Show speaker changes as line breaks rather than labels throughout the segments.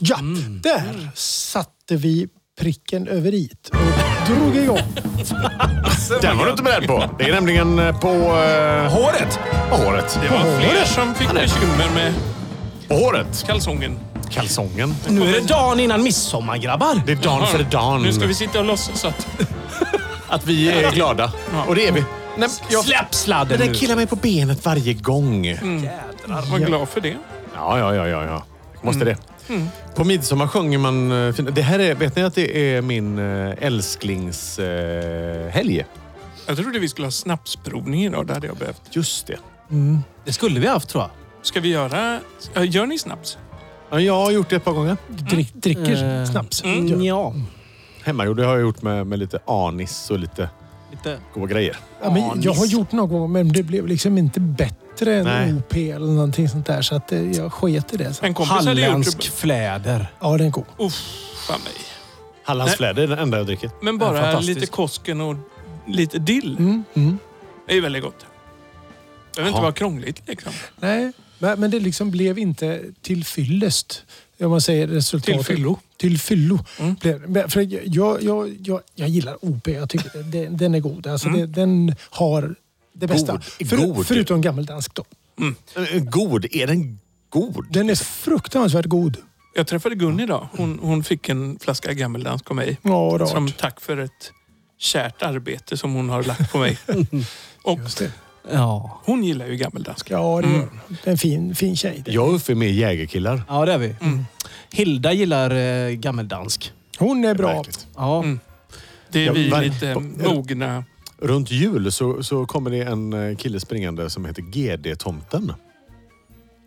Ja, där satte vi pricken över it och drog igång.
Den var du inte beredd på. Det är nämligen eh, på eh,
Håret!
håret.
Det var fler som fick
Ja, det-
bekymmer med
Håret.
kalsongen.
Kalsongen.
Nu är det dagen innan midsommar grabbar.
Det är dan för dan.
Nu ska vi sitta och låtsas att...
Att vi är glada. Och det är vi. Nej, men jag...
Släpp sladden
Det
nu.
där killar mig på benet varje gång.
Var glad för det.
Ja, ja, ja, ja. ja. Måste det. På midsommar sjunger man... eh, fina- Det här är, vet ni att det är min eh, älsklingshelg?
Jag trodde vi skulle ha snapsprovning idag. Det hade jag behövt.
Just det.
Det skulle vi haft tror jag.
Ska vi göra... Ja, Gör ni snaps?
Ja, jag har gjort det ett par gånger.
Drick, dricker snaps.
Mm, ja.
Hemmagjord det har jag gjort med, med lite anis och lite
Lite.
goda grejer.
Ja, men jag har
anis.
gjort någon gång, men det blev liksom inte bättre än
Nej.
OP eller någonting sånt där. Så att eh, jag sket i det. sen.
En kompis hade gjort
Halländsk
det.
fläder.
Ja, den är god.
Uff, fan mig.
Hallandsfläder är den enda jag dricker.
Men
Ja,
bara
fantastiskt.
lite Kosken och lite dill.
Mm,
Det är ju väldigt gott. Det behöver inte
Ja.
vara krångligt liksom.
Nej, men men det liksom blev inte till fyllest. Om man säger resultatet.
Till fyllo.
Till fyllo. Blev- men För jag, jag, jag, jag gillar OP. Jag tycker det- det, den är god. Alltså det, den har det bästa.
God,
För,
god.
Förutom gammeldansk då.
Eh, God. Är den god?
Den är fruktansvärt god.
Jag träffade Gun idag. Hon, hon fick en flaska gammeldansk av mig.
Ja, rart.
Som tack för ett kärt arbete som hon har lagt på mig. Och
Just det.
Ja.
hon gillar ju gammeldansk.
Ja, det, mm. det är en fin, fin tjej.
Jag och Uffe är mer jägerkillar.
Ja, det är vi.
Mm.
Hilda gillar eh, gammeldansk.
Hon är bra.
Verkligen.
Ja.
Mm. Det
Ja,
är vi
var-
lite mogna.
Runt jul så, så kommer det en eh, kille springande som heter GD-tomten.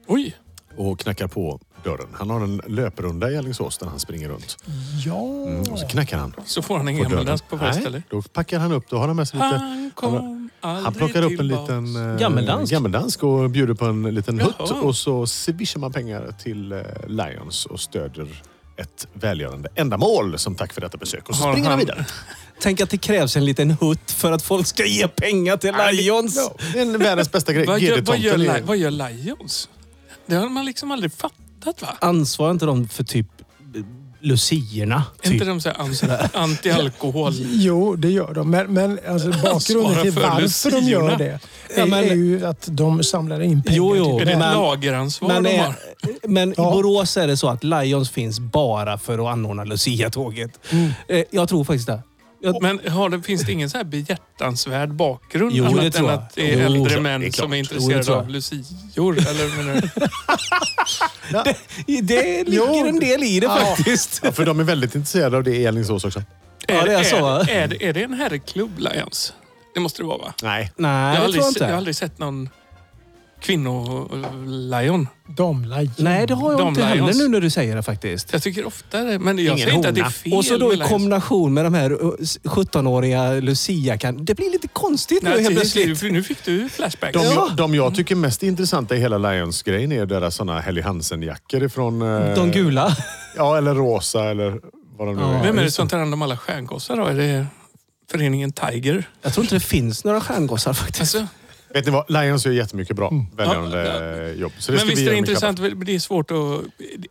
Oj!
och knackar på dörren. Han har en löprunda i Alingsås där han springer runt.
Ja.
Mm. Och så knackar han.
Så får han en
På dörren.
gammeldansk på Ah. varje ställe.
då packar han upp. Då har han med sig lite...
Han kom
Han plockar upp en liten eh,
Gammeldansk.
gammeldansk och bjuder på en liten
Jaha.
hutt. Och så swishar man pengar till eh, Lions och stöder ett välgörande ändamål som tack för detta besök. Och så
Har
springer han
han-
vidare.
Tänk att det krävs en liten hutt för att folk ska ge pengar till Lions.
Ja, det är en världens bästa grej.
Vad gör, vad, gör,
GD-tomten är...
Li- vad gör Lions? Det har man liksom aldrig fattat va?
Ansvarar inte de för typ eh, lucierna?
Är
Typ.
inte de så här anti- anti-alkohol?
Jo, det gör de. Men, men alltså, bakgrunden
Svara
till
för
varför de gör
Luciorna.
det
Ja,
är,
men-
är ju att de samlar in pengar.
Jo, jo.
Är
till
det
det
ett
här.
Men-
lageransvar
Men,
de
eh,
har?
men
Ja.
i Borås är det så att Lions finns bara för att anordna Lucia-tåget.
Mm.
Eh, Jag tror faktiskt det. Jag,
Men har det, finns det ingen så här behjärtansvärd bakgrund?
Jo, det
annat
tror
än
jag.
att det är
Jo,
äldre
klart,
män
det är klart.
som är
Jo,
det
intresserade
tror jag.
av lucior? Eller, menar du?
det, det ligger en del i det faktiskt.
Ja, för de är väldigt intresserade av det i Alingsås också.
Ja, det är så, va?
Är, är, det- är det en herrklubb, Lions? Det måste det vara, va?
Nej.
Nej,
jag, har
det tror jag
aldrig, se- jag har
inte.
aldrig sett någon kvinno-lion.
Damlajon.
Nej, det har jag
De
inte heller
Lions.
nu när du säger det faktiskt.
Jag tycker ofta det, men jag
Ingen
säger inte att det är
hona.
fel.
Och så då i
med Lions.
kombination med de här uh, 17-åriga Lucia. Kan, det blir lite konstigt nu
Nej, typ.
helt
till-
plötsligt.
Nu fick du flashbacks.
De,
Ja.
jag, de jag tycker mest är intressanta i hela Lions-grejen är deras såna Helly Hansen-jackor från... eh,
De gula.
Ja, eller rosa eller vad de nu
Ja.
är.
Vem är det som tar hand om alla stjärngossar då? Är det föreningen Tiger?
Jag tror inte det finns några stjärngossar faktiskt.
Alltså,
Vet ni vad? Lions gör jättemycket bra välgörande eh, jobb. Så det ska
Mm. men
vi
visst
ge
är det
dem en
intressant, det är svårt att...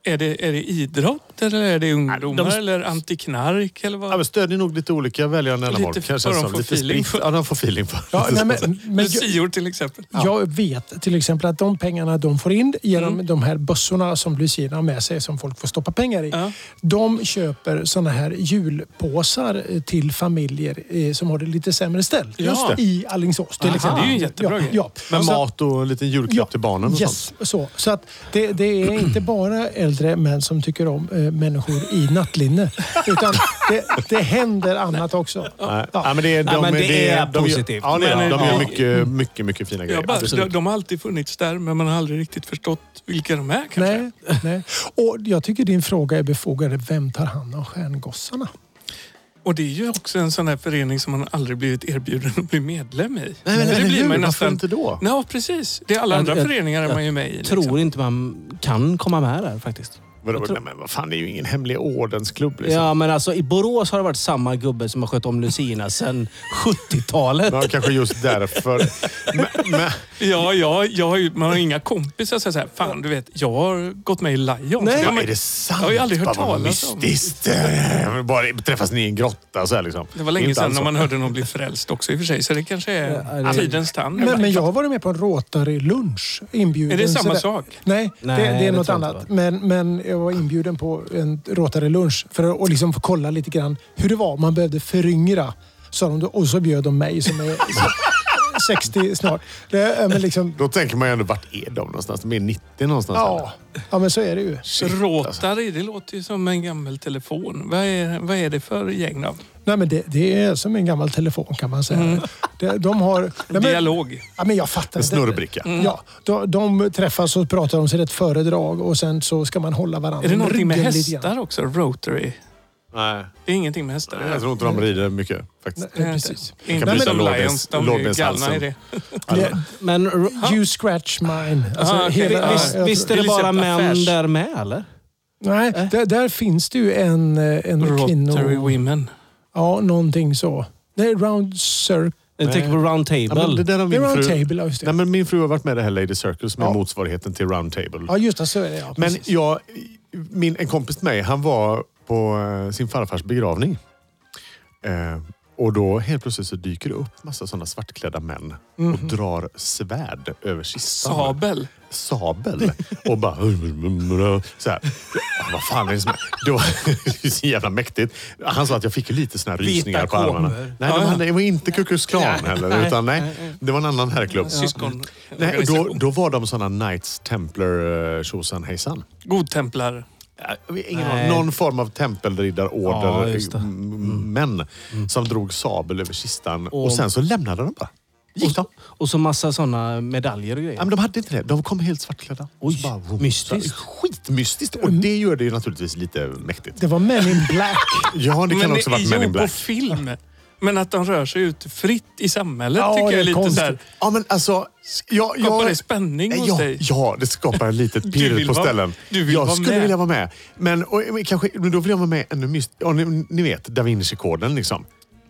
Är det, är det idrott eller är det ungdomar
de-
eller antiknark eller vad?
klapp. Ja, men stödjer nog lite olika välgörande
Lite
ändamål.
vad
Kanske
de
så,
får
lite
feeling
sprit.
för.
Ja, de får feeling för.
Ja, nej, men, men jag,
Lucior till exempel.
jag vet till exempel att de pengarna de får in genom de här bössorna som Lucina har med sig som folk får stoppa pengar i.
Ja.
De köper såna här julpåsar eh, till familjer eh, som har det lite sämre ställt.
Just det.
I Alingsås till
Aha,
exempel.
det är ju en jättebra
ja,
grej.
ja.
Med
Så-
mat och en liten julklapp till barnen och sånt.
yes, Så, så att det, det är inte bara äldre män som tycker om eh, människor i nattlinne. Utan det, det händer annat också.
Nej.
Ja.
Ja, men det, är- de,
Nej, men det
det
är
de gör-
positivt.
Ja, det är,
Men-
de gör
Ja.
mycket, mycket, mycket fina grejer.
Jag bara,
Absolut.
de, de har alltid funnits där, men man har aldrig riktigt förstått vilka de är kanske.
Nej, nej. Och jag tycker din fråga är befogad. Vem tar hand om stjärngossarna?
Och det är ju också en sån här förening som man aldrig blivit erbjuden att bli medlem i.
Nej, men
det
eller hur?
blir man ju
Varför
nästan...
inte då?
Nej, precis. Det är alla
Jag-
andra
jag-
föreningar är man ju med i. liksom.
Tror inte man kan komma med där faktiskt.
Vadå,
Jag tror-
nej, men vad fan, det är ju ingen hemlig ordensklubb. Liksom.
Ja, men alltså i Borås har det varit samma gubbe som har skött om lucierna sedan 70-talet.
Ja, kanske just därför. men, men,
Ja, ja, jag har ju, man har inga kompisar som säger fan du vet, jag har gått med i Lion.
Nej.
Så
vad
men-
är det sant?
Jag har ju aldrig hört
Fan, vad
talas om.
mystiskt. Eh, Bara träffas ni i en grotta så här liksom.
Det var länge
Inte
sedan
alls
när
så.
man hörde någon bli frälst också i och för sig. Så det kanske är
Ja, det-
tidens tand.
Men, men jag har varit med på en Rotary-lunch. Inbjuden.
Är det
sådär.
samma sak?
Nej,
Nej,
det, det
det
är något
tror jag
annat.
inte,
Men, men jag var inbjuden på en Rotary-lunch för att liksom få kolla lite grann hur det var. Man behövde föryngra, sa de. då. Och så bjöd de mig som är 60 snart. Det, är- men liksom,
Då tänker man ju ändå, vart är de någonstans? De är 90 någonstans.
ja, ja, men så är det ju.
Shit, alltså.
Rotary, det låter ju som en gammal telefon. Vad är, vad är det för gäng då?
Nej, men det, det är som en gammal telefon kan man säga. Det, de har... Nej, men,
Mm. Dialog. Mm.
ja, men jag fattar
En
inte.
snurrbricka.
Ja, de, de träffas och pratar om sig ett föredrag och sen så ska man hålla varandra
Är det
om
någonting med
ryggen lite grann.
hästar också? Rotary?
Nej,
Det är ingenting med hästar.
jag tror inte de rider mycket faktiskt.
Eh,
Nej, precis.
Inte
bryta
som
lårbens-
typ. Lions, de är ju galna
lårbenshalsen.
i det.
Det,
Men r-
You scratch mine. Alltså,
Ah, okej.
hela,
Ja,
visst,
jag
visst
tror-
är det
Elisabeth
bara män
Affärs.
där Äh? med, eller?
Nej, där, där finns det ju en, eh, en
Rotary
kvinno...
Women.
Ja, någonting så. Nej, round circle.
Jag tänker på Round
Ja, men det
Table.
där har
Det är
min
round
fru...
table, ja, just
Nej,
det.
men min fru har varit med i det här Lady Circle som är
Ja.
motsvarigheten till Round Table.
Ja, just det. Så är det. Ja,
Men
precis.
jag, min, en kompis till mig, han var på eh, sin farfars begravning. Eh, och då helt plötsligt så dyker det upp massa sådana svartklädda män och
Mhm.
drar svärd över kistan.
Sabel.
Sabel. Och bara... Så här. Ja, vad fan är det som är? Det var det är så jävla mäktigt. Han sa att jag fick ju lite såna här
Vita
rysningar på
komer.
armarna. Nej, de
Ja, ja.
hade, det var inte Kukus klan heller.
Nej.
Utan, nej, det var en annan herrklubb.
Syskon.
Nej, och då, då var de sådana Knights Templar eh, tjosan hejsan.
Godtemplar.
Ja, jag vet ingen
Nej.
aning. Någon form av
Ja,
tempelriddarorder.
just det. Mm.
m- män som drog sabel över kistan.
Och-
Och sen så lämnade de bara. Gick de?
Och så massa såna medaljer och
Ja,
grejer.
men de hade inte det. De kom helt svartklädda. Och
Oj,
så bara, vroom,
mystiskt.
så- Skitmystiskt. Och det gör det ju naturligtvis lite mäktigt.
Det var Men in Black.
Ja, det kan också varit
jo,
Men in
på
Black.
film. Men att de rör sig ut fritt i samhället
Ja,
tycker
det
jag
är
är lite
konstigt.
såhär...
Ja, men alltså... Jag, jag,
Skapar det spänning
Nej,
hos
ja,
dig?
Ja, det skapar ett litet pirr
vill
på
vara-
ställen.
du vill
jag
vara
skulle
med.
vilja vara med. Men, och, men kanske, men då vill jag vara med ännu mystiskt. Ja, ni, ni vet, Da Vinci-koden liksom.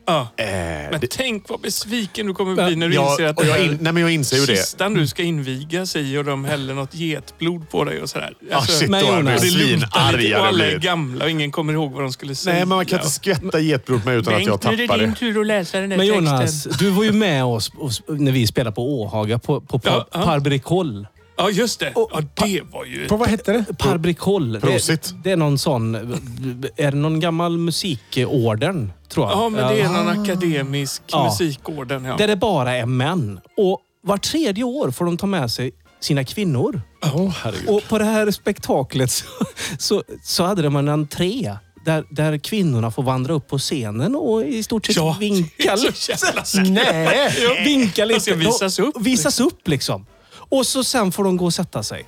Ja.
Eh,
Men
det-
tänk vad besviken du kommer bli när du
Ja,
inser att
och
det
jag, in,
här
nej, men jag inser ju det.
kistan du ska invigas i och de häller något getblod på dig och sådär.
Ah, shit,
men
då är
Jonas,
jag
och det luktar
svinarg.
lite och
jag
alla
blir.
är gamla och ingen kommer ihåg vad de skulle säga.
Nej, men man kan inte skvätta getblod med utan att jag tappar det.
tur att läsa den här
Men Jonas, du var ju med oss och s- när vi spelade på Åhaga på, på par,
Ja, ja.
Parbricol.
Ja, just det. Ja, det var ju...
På vad hette det?
Parbricol. det-
Prosit.
Det är någon sån... Är det någon gammal musikorden, tror jag?
Ja, men det är någon akademisk
Ja.
musikorden. Ja.
Där det bara är män. Och vart tredje år får de ta med sig sina kvinnor. Och på det här spektaklet så, så, så hade de en entré där, där kvinnorna får vandra upp på scenen och i stort sett
Ja, det
vinka
är så
lite.
jävla
Nej!
Vinka lite.
Alltså, visas upp.
Visas upp liksom. Och så sen får de gå och sätta sig.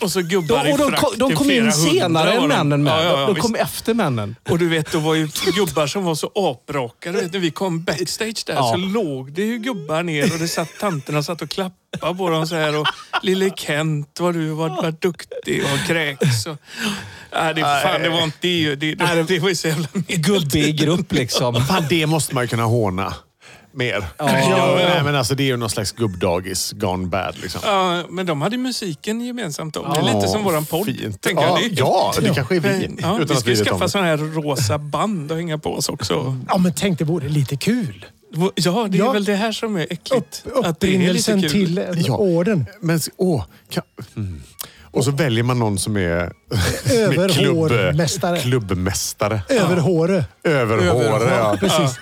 Och så
De,
gubbar
och de,
i
kom-
frack
de
till
kom
flera
in
hundra
senare än
var de.
männen med.
Ja, ja, ja,
de
visst.
kom efter männen.
Och du vet, då var ju gubbar som var så apraka. Du vet, när vi kom backstage där
Ja.
så låg det ju gubbar ner och det satt tanterna satt och klappade på dem så här. Och lille Kent, vad du var, var duktig och kräks. Och, nej, det, fan, det var inte det. Det, det, det var ju så jävla mycket.
Gubbig grupp liksom.
Fan, det måste man ju kunna håna mer. Ja, Nej, men alltså, det är ju någon slags gubbdagis gone bad. Liksom.
Ja, men de hade ju musiken gemensamt. Då. Det är lite som våran podd.
Fint.
tänker
ja,
jag. Det-
ja, det kanske är vi.
Ja,
utan
vi
att vi
skulle
vet om
skaffa
det.
sådana här rosa band och hänga på oss också.
Ja, men tänk det vore lite kul.
Ja, det är
Ja.
väl det här som är äckligt. Att det är lite
Upprinnelsen
kul.
till eh, en
Ja.
orden.
Men s- åh, kan, mm. Och så väljer man någon som är, som är
Överhårmästare.
klubbmästare.
Överhåre.
Överhåre, ja.
precis.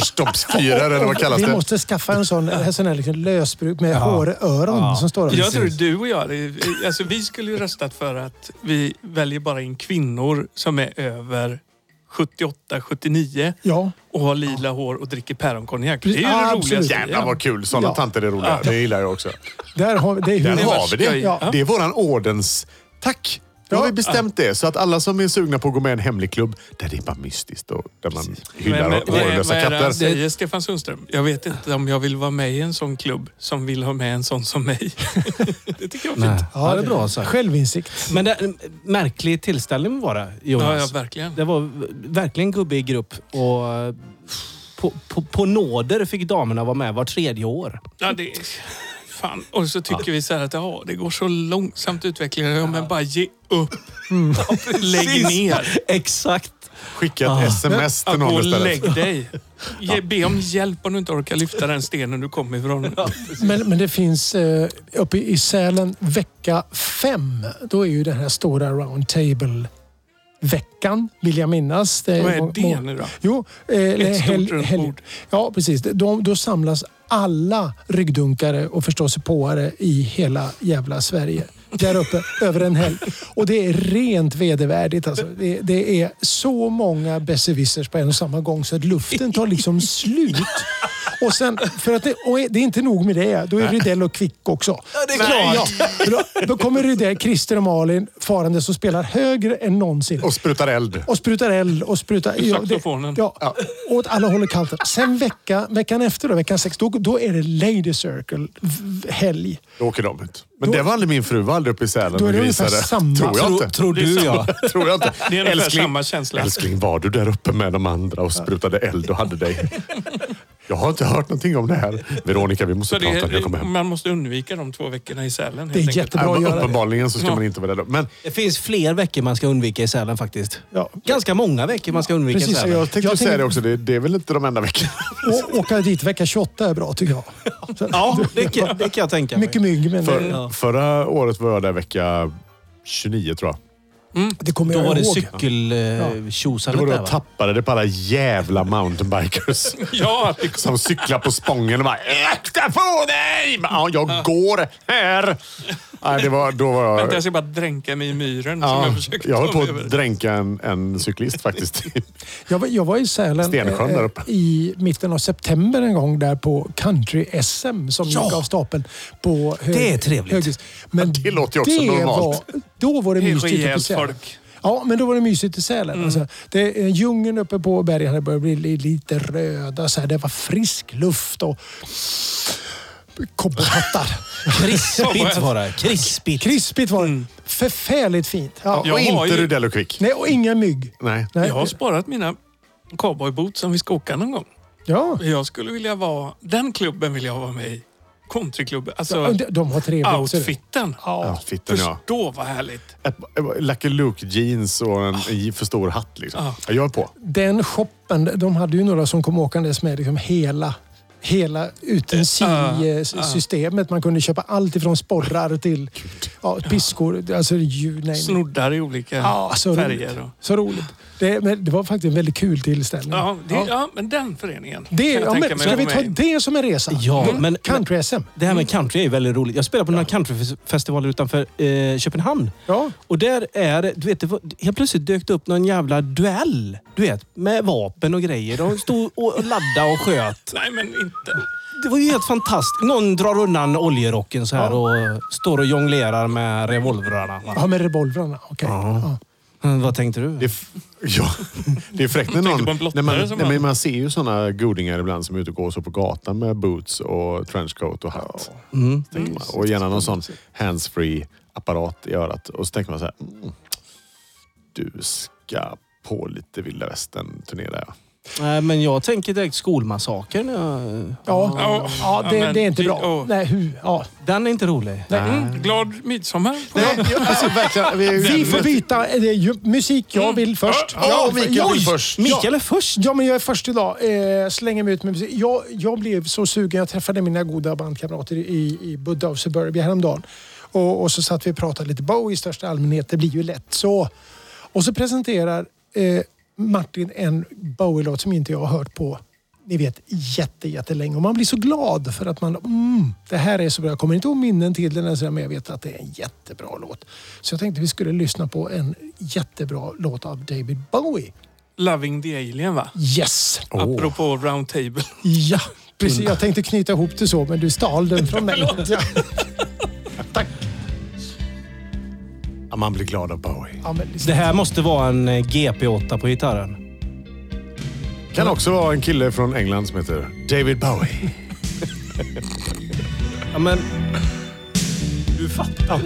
Iberstoppsfyrare eller vad kallas
Vi
det?
måste skaffa en sån, en sån här liksom lösbruk med håröron som står över.
Jag tror du och jag, det- alltså vi skulle ju röstat för att vi väljer bara in kvinnor som är över 78, 79
Ja.
och har lila hår och dricker päronkonjak. Det är ju det
Absolut.
roligaste.
Jävlar vad kul. Sådana
Ja.
tanter är roliga. Det gillar jag också.
Där har vi, det är
Där
hur-
har vi det.
Ja.
Det är våran ordens... Tack! Nu har vi bestämt det. Så att alla som är sugna på att gå med i en hemlig klubb, där det är bara mystiskt och där man hyllar
vad är, vad
hårlösa
är det han
katter.
säger, Stefan Sundström? Jag vet inte om jag vill vara med i en sån klubb som vill ha med en sån som mig. det tycker jag var
Nej.
fint.
Ja, det är bra sagt.
Självinsikt.
Men det, en märklig tillställning var det,
Ja, ja,
Jonas.
verkligen.
det var verkligen gubbig grupp. Och eh, på, på, på nåder fick damerna vara med var tredje år.
Ja, det fan. Och så tycker vi så här att ja, det går så långsamt utvecklingen. Ja, men bara ge upp.
Mm.
Lägg ner.
Exakt.
Skicka ett sms
Ja,
till
gå
någon
och
istället.
lägg dig. Ge, be om hjälp om du inte orkar lyfta den stenen du kom ifrån.
Men, men det finns eh, uppe i Sälen vecka fem. Då är ju den här stora round table-veckan, vill jag minnas. Det
Vad är
må-
det
må-
nu då?
Jo, eh, eller
stort runt bord.
Ja, precis. De, då samlas alla ryggdunkare och förståsigpåare i hela jävla Sverige. Där uppe, över en helg. Och det är rent vedervärdigt. Alltså. Det, det är så många besserwissers på en och samma gång så att luften tar liksom slut. Och, sen, för att det, och det är inte nog med det, då är Rydell och Kvick också.
Ja, det är klart.
För Då, då kommer Rydell, Christer och Malin farandes och spelar högre än någonsin
Och sprutar eld.
och sprutar eld och sprutar... Ja, det,
Saxofonen.
ja, och åt alla håller kanter. Sen vecka, veckan efter, då, veckan sex, då, då är det Lady Circle v- helg.
Då åker de ut. Men
Då-
det var aldrig min fru. var aldrig uppe i Sälen
Då är
och
det ungefär
grisade.
samma.
Tror jag inte.
Tror du ja.
Tror jag inte.
Det är ungefär samma känsla.
Älskling, var du där uppe med de andra och sprutade eld och hade dig? Jag har inte hört någonting om det här. Veronica, vi måste
Så
prata när jag kommer
det,
hem.
man måste undvika de två veckorna i Sälen. helt
Det är
enkelt.
jättebra.
Nej,
att
men
göra det.
uppenbarligen så ska
Ja.
man inte vara där. Men
Det finns fler veckor man ska undvika i Sälen faktiskt.
Ja.
Ganska många veckor man ska undvika
Precis,
i
och
Sälen.
jag tänkte
Jag
säga
tänker-
det också, det, det är väl inte de enda veckorna.
Och åka dit vecka 28 är bra tycker jag. Så,
Ja, det kan, det kan jag tänka mig.
mycket mygg, men
För,
det,
Ja.
Förra året var jag där vecka 29 tror jag.
det kommer
Då
jag
var det
ihåg.
Det
cykeltjosandet
var då
där
jag
va?
tappade det på alla jävla mountainbikers.
Ja, det
Som cyklar på spången och bara “Akta på dig!” Men, Ja, jag går här. Nej, det var, då var
Vänta,
jag...
jag ska bara dränka mig i myren som
Ja,
jag försökte
jag höll på
ta mig över.
att dränka en, en cyklist faktiskt.
Jag var, jag var i Sälen
Stensjön
eh,
där uppe.
i mitten av september en gång där på country-SM som
Ja.
gick av stapeln. På hö-
Det är trevligt.
höghus. Men
det låter ju också
det
normalt.
Var, då var det
Det är
mysigt uppe i
rejält
Sälen.
folk.
Ja, men då var det mysigt i Sälen. Alltså, det, eh, djungeln uppe på bergen hade börjat bli li- lite röda. Så här, det var frisk luft och cowboyhattar.
Krispigt var det. Krispigt.
Krispigt var det. Förfärligt fint. Ja.
Jag
och
har
inte
ju-
Rydell och Quick.
Nej, och inga mygg.
Nej.
Nej.
Jag har sparat mina cowboyboot som vi ska åka någon gång.
Ja.
Jag skulle vilja vara... Den klubben vill jag vara med i. Countryklubben. Alltså
De, de har trevligt. ser du.
outfiten.
Ja.
Ja, fitten ja.
Förstå vad härligt.
Ett- ett- Lucky Luke jeans och en
Ah.
i för stor hatt liksom.
Ja.
Ja, Jag är på.
den shoppen, de hade ju några som kom åkandes med liksom hela hela
Ja,
utensilsystemet. Man kunde köpa allt ifrån sporrar till ja, piskor. Alltså, you name it.
Snoddar i olika
Ja, så roligt. Mm.
färger. Och...
Så roligt. Det, men det var faktiskt en väldigt kul tillställning.
Ja, det,
Ja.
ja, men den föreningen
Det,
kan jag
ja,
tänka
men,
mig
ska
att
vi
vara
ta
med i.
det som en resa? Mm.
Ja, men-
Country-SM.
Det här med country är ju väldigt roligt. Jag spelade på några countryfestivaler utanför eh, Köpenhamn.
Ja.
Och där är det- du vet, det var, helt plötsligt dök det upp någon jävla duell. Du vet, med vapen och grejer. De stod och laddade och sköt.
Nej, men inte.
Det var ju helt fantastiskt. Någon drar undan oljerocken så här och står och jonglerar med revolvrarna. va?
ja, med revolvrarna. Okej. Ja.
Mm, Vad tänkte du?
Det är, f- ja, det är fräckt när
tänkte på
någon...
en blottare
När man,
som
nej,
han.
men man ser ju såna godingar ibland som är ute och går så på gatan med boots och trenchcoat och hatt.
Mm.
Så tänker man. Och gärna någon sån handsfree apparat i örat. Och så tänker man så här. Mm, du ska på lite vilda västern-turné där ja.
Nej, men jag tänker direkt skolmassakern. jag-
Ja.
Ja.
Ja. det,
men
det är inte
det-
bra.
ja.
Nej, hur? Ja.
Den är inte rolig.
Mm, glad midsommar.
Nej, ja, alltså, verkligen, vi,
Vi får byta. eh, Det är ju musik
Mm.
jag vill först.
Ja, ja, Mikael vill
Oj!
först.
Mikael är först.
Ja, men jag är först idag. Eh, slänger mig ut med musik. Jag, jag blev så sugen. Jag träffade mina goda bandkamrater i, i Buddha och Suburbia häromdagen. Och, och så satt vi och pratade lite Bowie i största allmänhet. Det blir ju lätt så. Och så presenterar eh, Martin en Bowie-låt som inte jag har hört på ni vet, jätte, jättelänge. Och man blir så glad för att man... Mm, det här är så bra. Jag kommer inte ihåg minnen till den, ens, men jag vet att det är en jättebra låt. Så jag tänkte vi skulle lyssna på en jättebra låt av David Bowie.
Loving the Alien, va?
Yes!
Apropå Round Table.
Ja, precis. Jag tänkte knyta ihop det så, men du stal den från mig.
Förlåt.
Ja. Tack.
I'm man blir glad av Bowie.
Ja, men liksom-
Det här måste vara en eh, GP8 på gitarren.
Kan också vara en kille från England som heter David Bowie.
Ja, men... Du fattar.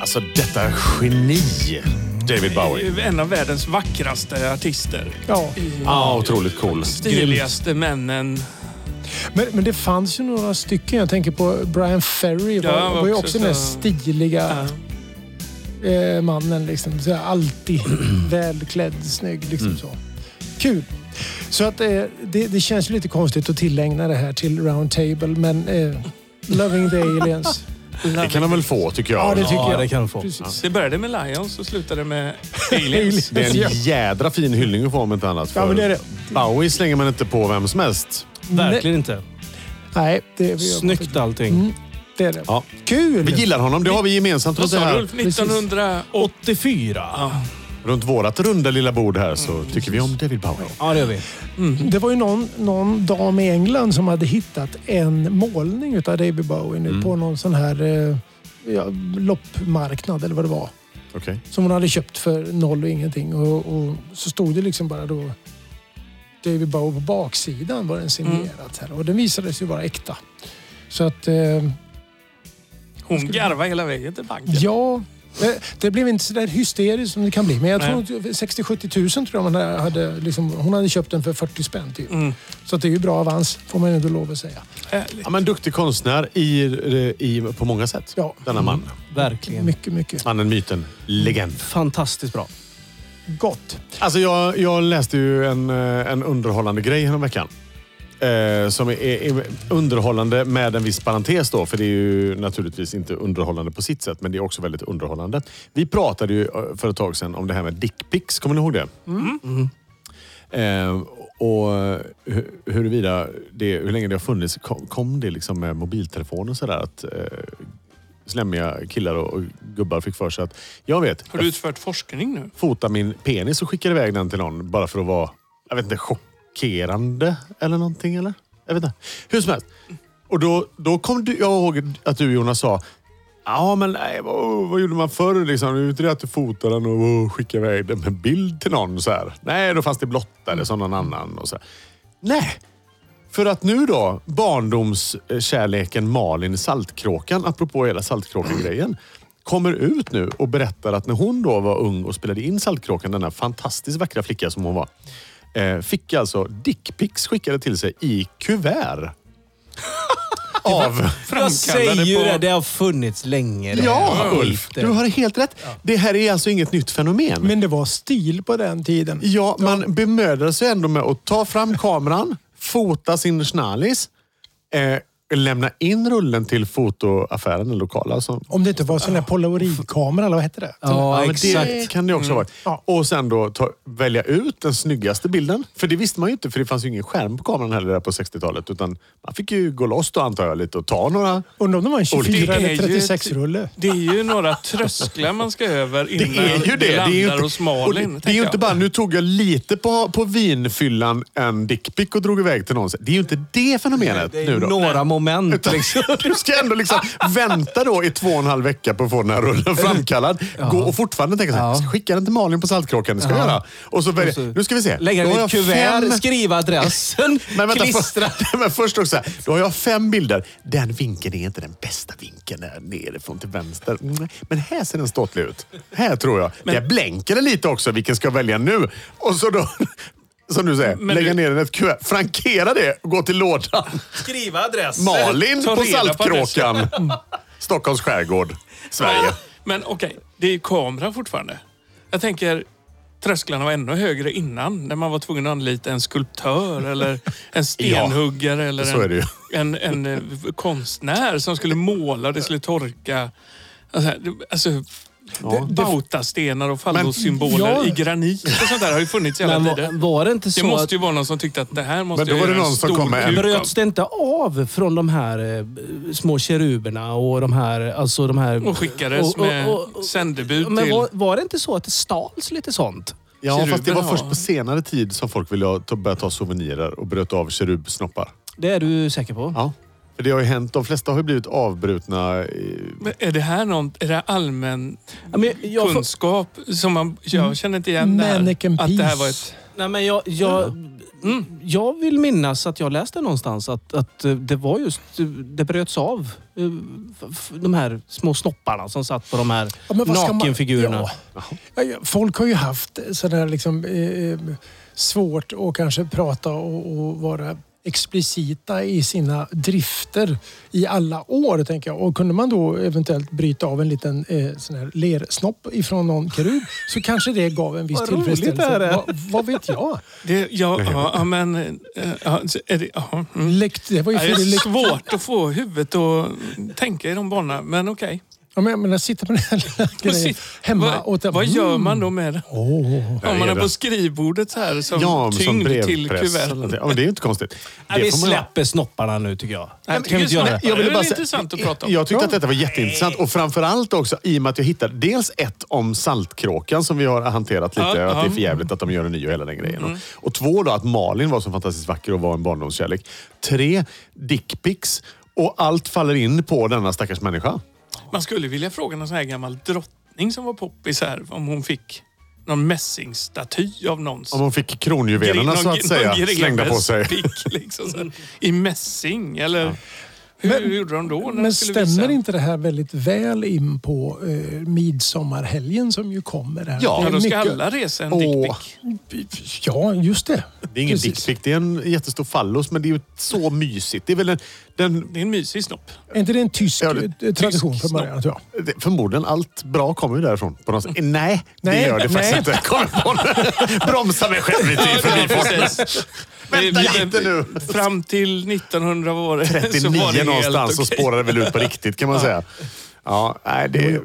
Alltså detta geni! David Bowie.
En av världens vackraste artister.
Ja.
Ja, otroligt cool.
Stiligaste männen.
Men, men det fanns ju några stycken. Jag tänker på Brian Ferry. Var,
Ja, han var
var ju
också
också den där
så-
stiliga
Ja.
eh, mannen. Liksom. Så här, alltid välklädd, snygg. Liksom så. Kul! Så att, eh, det, det känns ju lite konstigt att tillägna det här till Round Table, men eh, Loving the Aliens.
Det kan han väl få tycker jag.
Ja, det tycker
Ja,
jag.
det kan de få.
Precis.
Det började med Lions och slutade med Aliens.
Aliens.
Det är en jädra fin hyllning att få om inte annat.
Ja, men det är det.
Bowie slänger man inte på vem som helst.
Verkligen inte.
Nej, det är vi.
Snyggt allting.
Det är det.
Ja.
Kul!
Vi gillar honom, det har vi gemensamt runt,
Vad
det
sa du
här,
Ulf? 1980?
84.
runt vårat runda lilla bord här. Så
Mm.
tycker vi om David Bowie.
Ja, det gör vi.
Det var ju någon, någon dam i England som hade hittat en målning av David Bowie nu på någon sån här eh, ja, loppmarknad eller vad det var.
Okej.
Som hon hade köpt för noll och ingenting. Och, och så stod det liksom bara då David Bowie på baksidan var den signerat. Här. Och den visade sig vara äkta. Så att eh,
Hon garvade hela vägen till banken.
ja, det, det blev inte så där hysteriskt som det kan bli. Men jag
Nej.
tror 60-70 tusen tror jag man hade, liksom, hon hade köpt den för 40 spänn typ. Så att det är ju bra avans får man ju ändå lov att säga.
Härligt.
Ja, men duktig konstnär i, i, på många sätt.
Ja. Mm.
Denna man.
Verkligen.
Mycket, mycket
Mannen, myten, legend.
Fantastiskt bra.
gott.
Alltså jag, jag läste ju en, eh, en underhållande grej häromveckan. Eh, som är, är underhållande med en viss parentes då. För det är ju naturligtvis inte underhållande på sitt sätt. Men det är också väldigt underhållande. Vi pratade ju eh, för ett tag sedan om det här med dickpics. Kommer ni ihåg det?
Mm.
Eh, och hur, huruvida det, hur länge det har funnits. Kom, kom det liksom med mobiltelefoner sådär att eh, slemmiga killar och, och gubbar fick för sig att jag vet,
Har du utfört forskning nu?
fota min penis och skickade iväg den till någon bara för att vara, jag vet inte, chockerande eller någonting eller? Jag vet inte. Hur som helst. Och då, då kom du, jag ihåg att du Jonas sa, ja men nej, vad, vad gjorde man förr liksom? Nu är inte det att du fotar den och oh, skickar iväg den med bild till någon så här. Nej, då fanns det blottade som någon annan och så här. Nej! För att nu då, barndomskärleken Malin Saltkråkan, apropå hela Saltkråkan-grejen, kommer ut nu och berättar att när hon då var ung och spelade in Saltkråkan, denna fantastiskt vackra flicka som hon var, eh, fick alltså dickpics skickade till sig i kuvert. Av...
Jag säger ju det, det har funnits länge. det här.
Ja, Ulf!
Skit, det.
Du har helt rätt. Det här är alltså inget nytt fenomen.
Men det var stil på den tiden.
Ja, man bemödar sig ändå med att ta fram kameran, fota sin schnallis, eh, lämna in rullen till fotoaffären, den lokala. Som,
Om det inte var sån där polaroidkamera eller vad hette det?
Ja,
men
exakt.
Det Mm. kan det också vara.
Ja.
Och sen då ta, välja ut den snyggaste bilden. För det visste man ju inte, för det fanns ju ingen skärm på kameran heller där på 60-talet. Utan man fick ju gå loss då antar jag lite och ta några.
Undrar om det var en
Och det
24
är
eller
ju
36-rulle?
Det är ju några trösklar man ska över
Det
innan
är ju det. Det är
landar
ju inte,
hos
och
Malin.
det, det är
tänker
ju
jag.
inte bara, nu tog jag lite på, på vinfyllan en dickpic och drog iväg till någon. Det är ju inte det fenomenet
Det är
nu då.
några moment.
Utan du ska ändå liksom vänta då i två och en halv vecka på att få den här rullen framkallad. Gå och fortfarande tänka så här,
Ja.
jag ska skicka den till Malin på Saltkråkan, det ska jag göra. Och så väljer,
Och så
nu ska vi se.
Lägga
Då
den i
har
ett
jag
kuvert,
fem-
skriva adressen,
men vänta,
klistra.
För, men först också, så här, då har jag fem bilder. Den vinkeln är inte den bästa vinkeln, där nerifrån till vänster. Mm, Men här ser den ståtlig ut. Här tror jag. Där blänker det lite också, vilken ska jag välja nu? Och så då, som du säger,
Men
lägga
du-
ner den i ett kuvert, frankera det och gå till lådan.
Skriva adress.
Malin
Ta
på
reda på Mm.
Saltkråkan. Stockholms skärgård, Sverige.
Men okej, det är ju kamera fortfarande. Jag tänker, trösklarna var ännu högre innan. När man var tvungen att anlita en skulptör eller en stenhuggare eller
så är det ju.
en, en, en eh, konstnär som skulle måla och det skulle torka. Alltså, det- Alltså, Bautastenar och fallossymboler
Ja.
i granit och sånt där har ju funnits hela
Men
tiden.
var, var det inte
Det
så att...
måste ju vara någon som tyckte att det här måste
Men då
jag
var det
göra en
någon som
stor
kom med en-
kuk av.
Bröts det inte av från de här eh, små keruberna och de här... Alltså de här
Och skickades
och- och- och-
med
och-
sändebud
Men
till...
var, var det inte så att det stals lite sånt?
Ja, fast det var
Keruberna,
först på senare tid som folk ville ha- ta- börja ta souvenirer och bröt av kerubsnoppar.
Det är du säker på?
Ja. För det har ju hänt. De flesta har ju blivit avbrutna. i-
Men Är det här någon, är det allmän
Ja, Men jag, får-
kunskap som man... Jag känner inte igen det här.
Mannequin
Att det här
piece.
var ett...
nej, men jag, jag, Jag vill minnas att jag läste någonstans att, att eh, det var just, eh, det bröts av eh, f- f- de här små snopparna som satt på de här
Ja, men vad ska man-
nakenfigurerna.
Ja. Ja, ja, Folk har ju haft sådär liksom, eh, svårt att kanske prata och, och vara explicita i sina drifter i alla år, tänker jag. Och kunde man då eventuellt bryta av en liten eh, sån här lersnopp ifrån någon kerub så kanske det gav en viss
Vad roligt
tillfredsställelse.
det här är.
Vad, vad vet jag?
Det, ja, ja, ja, men... eh, Ja, så är det, ja, mm.
Lekt, det var ju
Ja,
fel.
det är
Lekt,
svårt att få huvudet att tänka i de banorna, men okej.
ja, men jag menar, sitta på den här lilla grejen hemma och... Mm,
Vad, vad gör man då med det?
Åh.
Där
Om man
är
är
det.
på skrivbordet så här som
Ja, men som
tyngd till
brevpress. eller
kuvertet.
någonting. Ja, men det är ju inte konstigt.
Nej,
Det
vi
får man-
släpper snopparna nu tycker jag.
men
kan vi
just
inte göra
det.
det?
Ja,
Jag ville
det är
bara
väl
säga-
intressant att prata om.
Jag tyckte att detta var jätteintressant och framförallt också i och med att jag hittade dels ett om Saltkråkan som vi har hanterat lite.
Ja,
att det är
ja. Mm.
för jävligt att de gör en ny och hela den grejen. Och, och två då, att Malin var så fantastiskt vacker och var en barndomskärlek. Tre, dickpics. Och allt faller in på denna stackars människa.
Man skulle vilja fråga någon sån här gammal drottning som var poppis här om hon fick någon mässingsstaty av någon.
Om hon fick kronjuvelerna så att säga slängda på sig.
Pick, liksom, så här, I mässing eller hur, hur gjorde de då? När de
Men
skulle
stämmer
visa?
inte det här väldigt väl in på eh, midsommarhelgen som ju kommer? Här?
Ja,
Det
Ja,
är
då ska
mycket-
alla resa en
Åh.
dickpic.
Ja, just det.
Det är ingen
Precis.
dickpic, det är en jättestor fallos men det är ju så mysigt. Det är väl den, den,
Det är en mysig snopp.
Är inte det en tysk
Ja, det-
eh, tradition
tysk
från början? Tror jag.
det, förmodligen allt bra kommer ju därifrån. På något sätt. Eh, Nej, det
Nej,
gör det faktiskt
nej.
inte. Kom på det. Bromsa mig själv lite i förbifarten. Vänta lite nu.
Fram till 1900 var det, så
39
var det
någonstans så
helt okej.
spårar det väl ut på riktigt kan man säga. Ja, nej, det,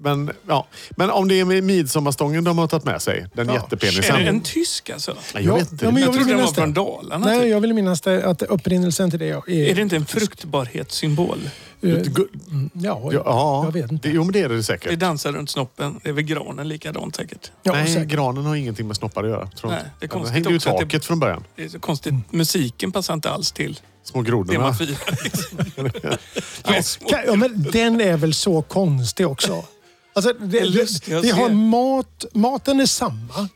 men, ja. men om det är med midsommarstången de har tagit med sig, den jättepenisen.
Är det en tysk alltså?
Nej, Jag vet
Ja,
inte.
men
Jag,
jag vill
trodde den var
minnas
från
det.
Dalarna.
Nej,
typ.
jag vill minnas det, att upprinnelsen till det är...
Är det inte en fruktbarhetssymbol?
eh,
Gu-
ja,
Ja,
jag vet inte.
det- jo men det är det
Vi
säkert.
dansar runt snoppen. Det är väl granen likadant säkert.
Ja,
Nej,
säkert.
granen har ingenting med snoppar att göra. Tror
Nej,
jag.
det är
Den
konstigt
hängde ju i
också att det-
taket från början.
Det är så konstigt.
Mm.
Musiken passar inte alls till
Små
det man
grodorna.
firar. liksom. Det är små-
Ka- Ja, men den är väl så konstig också? Alltså, det,
är lustigt
det,
att
det har
se.
mat, maten är samma.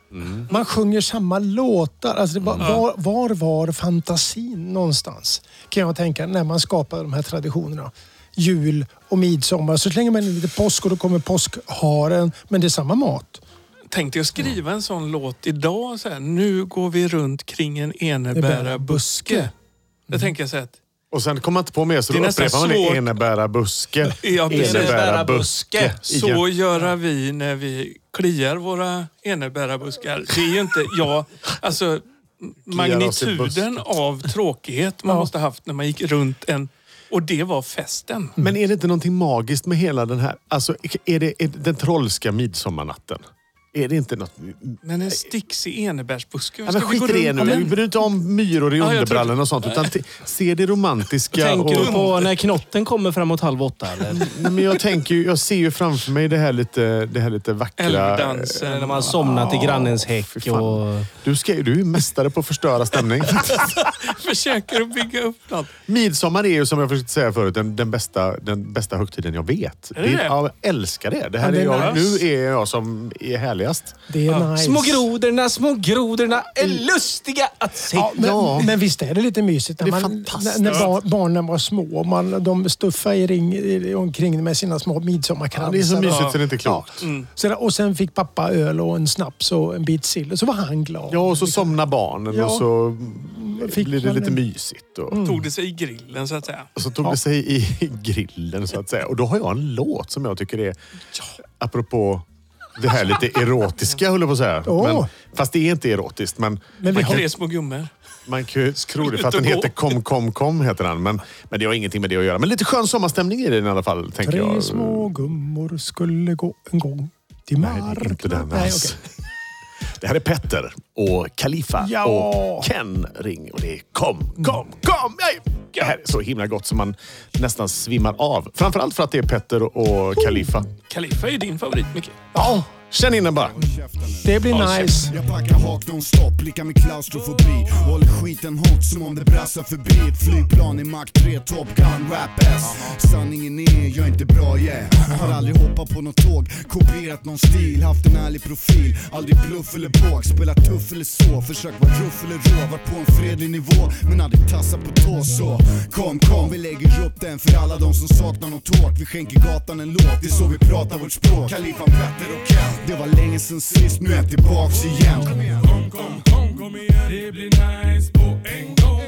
Man sjunger samma låtar. Alltså, det, var, var, var var fantasin någonstans? Kan jag tänka när man skapar de här traditionerna. Jul och midsommar. Så slänger man in lite påsk och då kommer påskharen. Men det är samma mat.
Tänkte jag skriva en sån låt idag. Så här, nu går vi runt kring en enebära buske. Då tänker jag så här att...
Och sen kom man inte på mer så
Det är
då
nästan
upprepar man det.
svårt.
Enebära buske.
Ja, precis.
Enebära buske.
Så göra vi när vi kliar våra enebärabuskar. Det är ju inte, ja, alltså
oss i busken.
magnituden av tråkighet man måste ha haft när man gick runt en... Och det var festen.
Men är det inte någonting magiskt med hela den här... Alltså, är det, är det den trollska midsommarnatten? Är det inte något...
Men en sticksig enebärsbuske,
Ja,
hur
men
ska vi
skit
gå
i det
runt
nu. Vi bryr inte om myror i
jag tror-
underbrallorna och sånt. Utan t- se det romantiska.
Tänker
och,
du på när knotten kommer framåt halv åtta? Eller?
Nej, men jag, tänker, ju- jag ser ju framför mig det här lite, det här lite vackra...
Eller när
Älvdansen.
man somnar till grannens häck?
fan.
Och...
Du, ska, ju- du är ju mästare på att förstöra stämning.
Försöker att bygga upp något.
Midsommar är ju som jag försökte säga förut den, den, bästa, den bästa högtiden jag vet.
Är det det?
Ja, jag älskar det. det här
Ja,
är
det är
jag,
nice.
nu är jag som är härligast.
Det är nice.
Små grodorna, små grodorna är lustiga att se.
Ja, men,
Ja.
men visst är det lite mysigt när,
Det är
man,
fantastiskt.
när, när bar, barnen var små. och Man, de stuffade i ring, i- omkring med sina små
Ja,
midsommarkransar.
det är så mysigt
Ja.
så det är inte är klokt.
Så där- och sen fick pappa öl och en snaps och en bit sill. Och så var han glad.
Ja, och så somnar barnen
Ja.
och så
Fick
blir det
man
lite
en- Mm.
mysigt. Och,
Tog det sig i grillen så att säga.
och så tog det sig i grillen så att säga. Och då har jag en låt som jag tycker är, apropå det här lite erotiska höll jag på att säga.
Åh.
Men, fast det är inte erotiskt. Men,
Men vi
man,
har-
kan,
Tre små gummor.
man kan ju tro det för att den heter Kom kom kom heter den. Men, men det har ingenting med det att göra. Men lite skön sommarstämning i den i alla fall. Tänker
Tre
jag.
små gummor skulle gå en gång till
Nej, det är
marknaden.
inte den
Nej,
alls.
okej.
Det här är Petter och Kalifa
Ja.
och Ken Ring. Och det är kom, kom, kom! Nej. Det här är så himla gott som man nästan
Oh.
svimmar av. Framförallt för att det är Petter och Kalifa.
Kalifa är ju din favorit, Micke.
Ja, Känn in den bara.
Oh, Det blir nice.
Jag packar hak non-stop, blickar med klaustrofobi Håller skiten hot som om det brassar förbi Ett flygplan i Mach 3, Top Gun, rap-ass Sanningen är, jag är inte bra yeah Har aldrig hoppat på något tåg, kopierat någon stil Haft en ärlig profil, aldrig bluff eller båg Spelat tuff eller så, försökt vara ruff eller rå Varit på en fredlig nivå, men aldrig tassat på tå så Kom, kom, vi lägger upp den för alla de som saknar något hårt Vi skänker gatan en låt, det är så vi pratar vårt språk Kalifa, Petter och Ken Det var länge sen sist, nu är jag tillbaks igen
Kom, kom, kom, kom igen Det blir nice på en gång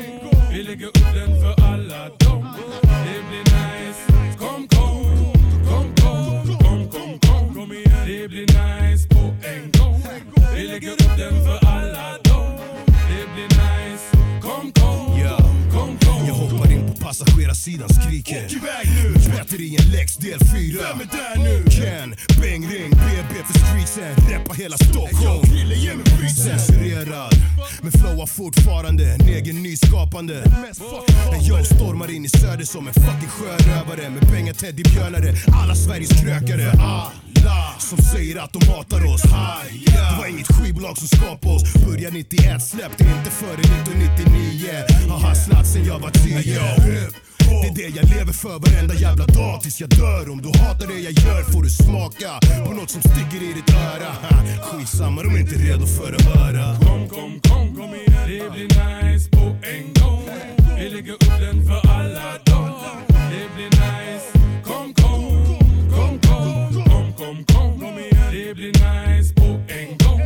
Vi lägger upp den för alla dem Det blir nice Kom, kom, kom, kom Kom, kom, kom, kom igen Det blir nice på en gång Vi lägger upp den för alla dem Det blir nice Kom, kom, kom, kom
Jag hoppar in på passagerarsidan, skriker Åk iväg nu! Batterien läx del 4 Vem är där nu? Ken, Bengring, BB för streetsen Reppar hela Stockholm Krille, ge mig brisen Censurerad, men flowar fortfarande En egen nyskapande En jag stormar in i söder som en fucking sjörövare Med pengar, teddybjörnare, alla Sveriges krökare Ah. Alla som säger att de hatar oss Haja. Det var inget skivbolag som skapade oss Börja 91, släppte inte före 1999 Har hustlat sen jag var tio det är det jag lever för varenda jävla dag tills jag dör Om du hatar det jag gör får du smaka på något som sticker i ditt öra Skitsamma, de är inte redo för att höra
Kom, kom, kom, kom igen Det blir nice på en gång Vi lägger upp den för alla dem Det blir nice Kom, kom, kom, kom Kom, kom, kom, kom igen Det blir nice på en gång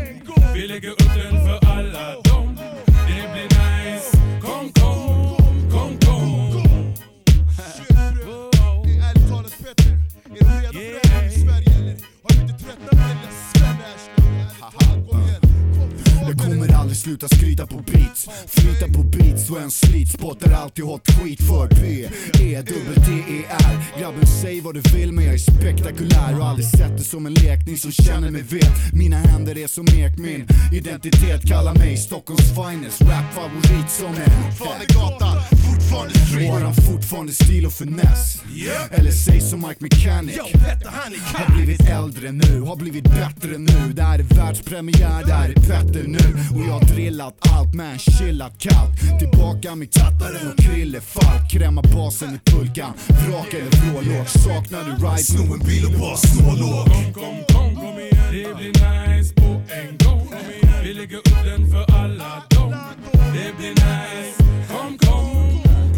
Vi lägger upp den för alla dem Det blir nice Kom, kom, kom, kom
Ärligt talat Petter, är du redo för det här i Sverige eller? Har du inte tröttnat på den jag kommer aldrig sluta skryta på beats Flyta på beats och en slit Spottar alltid hot skit för P E dubbel T E R Grabben säg vad du vill men jag är spektakulär Och aldrig sett det som en lekning som känner mig vet Mina händer är som mek min identitet Kallar mig Stockholms finest Rap-favorit som är fortfarande gatan, fortfarande street Våran fortfarande stil och finess Eller säg som Mike Mechanic Har blivit äldre nu, har blivit bättre nu Det här är världspremiär, det här är Petter nu Och jag har drillat allt men chillat kallt Tillbaka med tattaren och Krille Falk Kräma basen i pulkan, vrak eller vrålåt Saknar du ride? Sno en bil och bara snålåt
Kom, kom, kom, kom igen Det blir nice på en gång Vi lägger upp den för alla dem Det blir nice Kom, kom,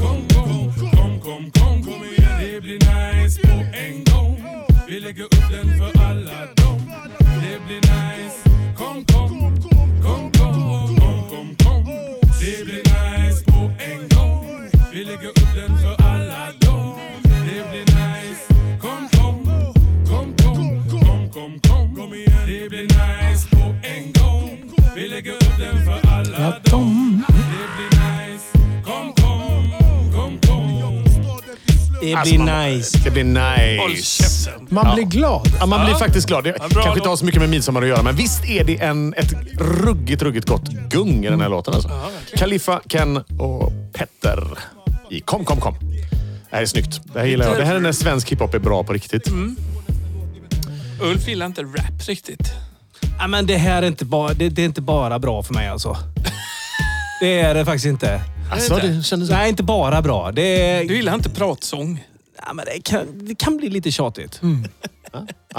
kom, kom Kom, kom, kom, kom igen Det blir nice på en gång Vi lägger upp den för alla dem Det blir nice Kom, kom, kom, kom Kom, kom, kom Det blir nice på en gång Vi lägger upp den för alla dem Det blir nice Kom, kom, kom, kom Kom, kom, kom, kom igen Det blir nice på en gång Vi lägger upp den för alla dem Det blir nice Kom, kom, kom, kom
Det blir nice.
Det blir
Håll
nice.
käften.
Man blir glad.
Ja, man blir faktiskt glad. Det kanske inte
låt.
har så mycket med midsommar att göra, men visst är det en, ett ruggigt, ruggigt gott gung i den här låten. Alltså. Kaliffa, Ken och Petter i Kom, kom, kom. Det här är snyggt. Det här gillar jag. Det här är när svensk hiphop är bra på riktigt.
Ulf gillar inte rap riktigt.
Ja, men det här är inte, bara, det, det är inte bara bra för mig alltså. Det är det faktiskt inte.
Alltså, det kändes...
Nej, inte bara bra. Det, är,
Du gillar inte pratsång.
ja, men det, kan, det kan bli lite tjatigt.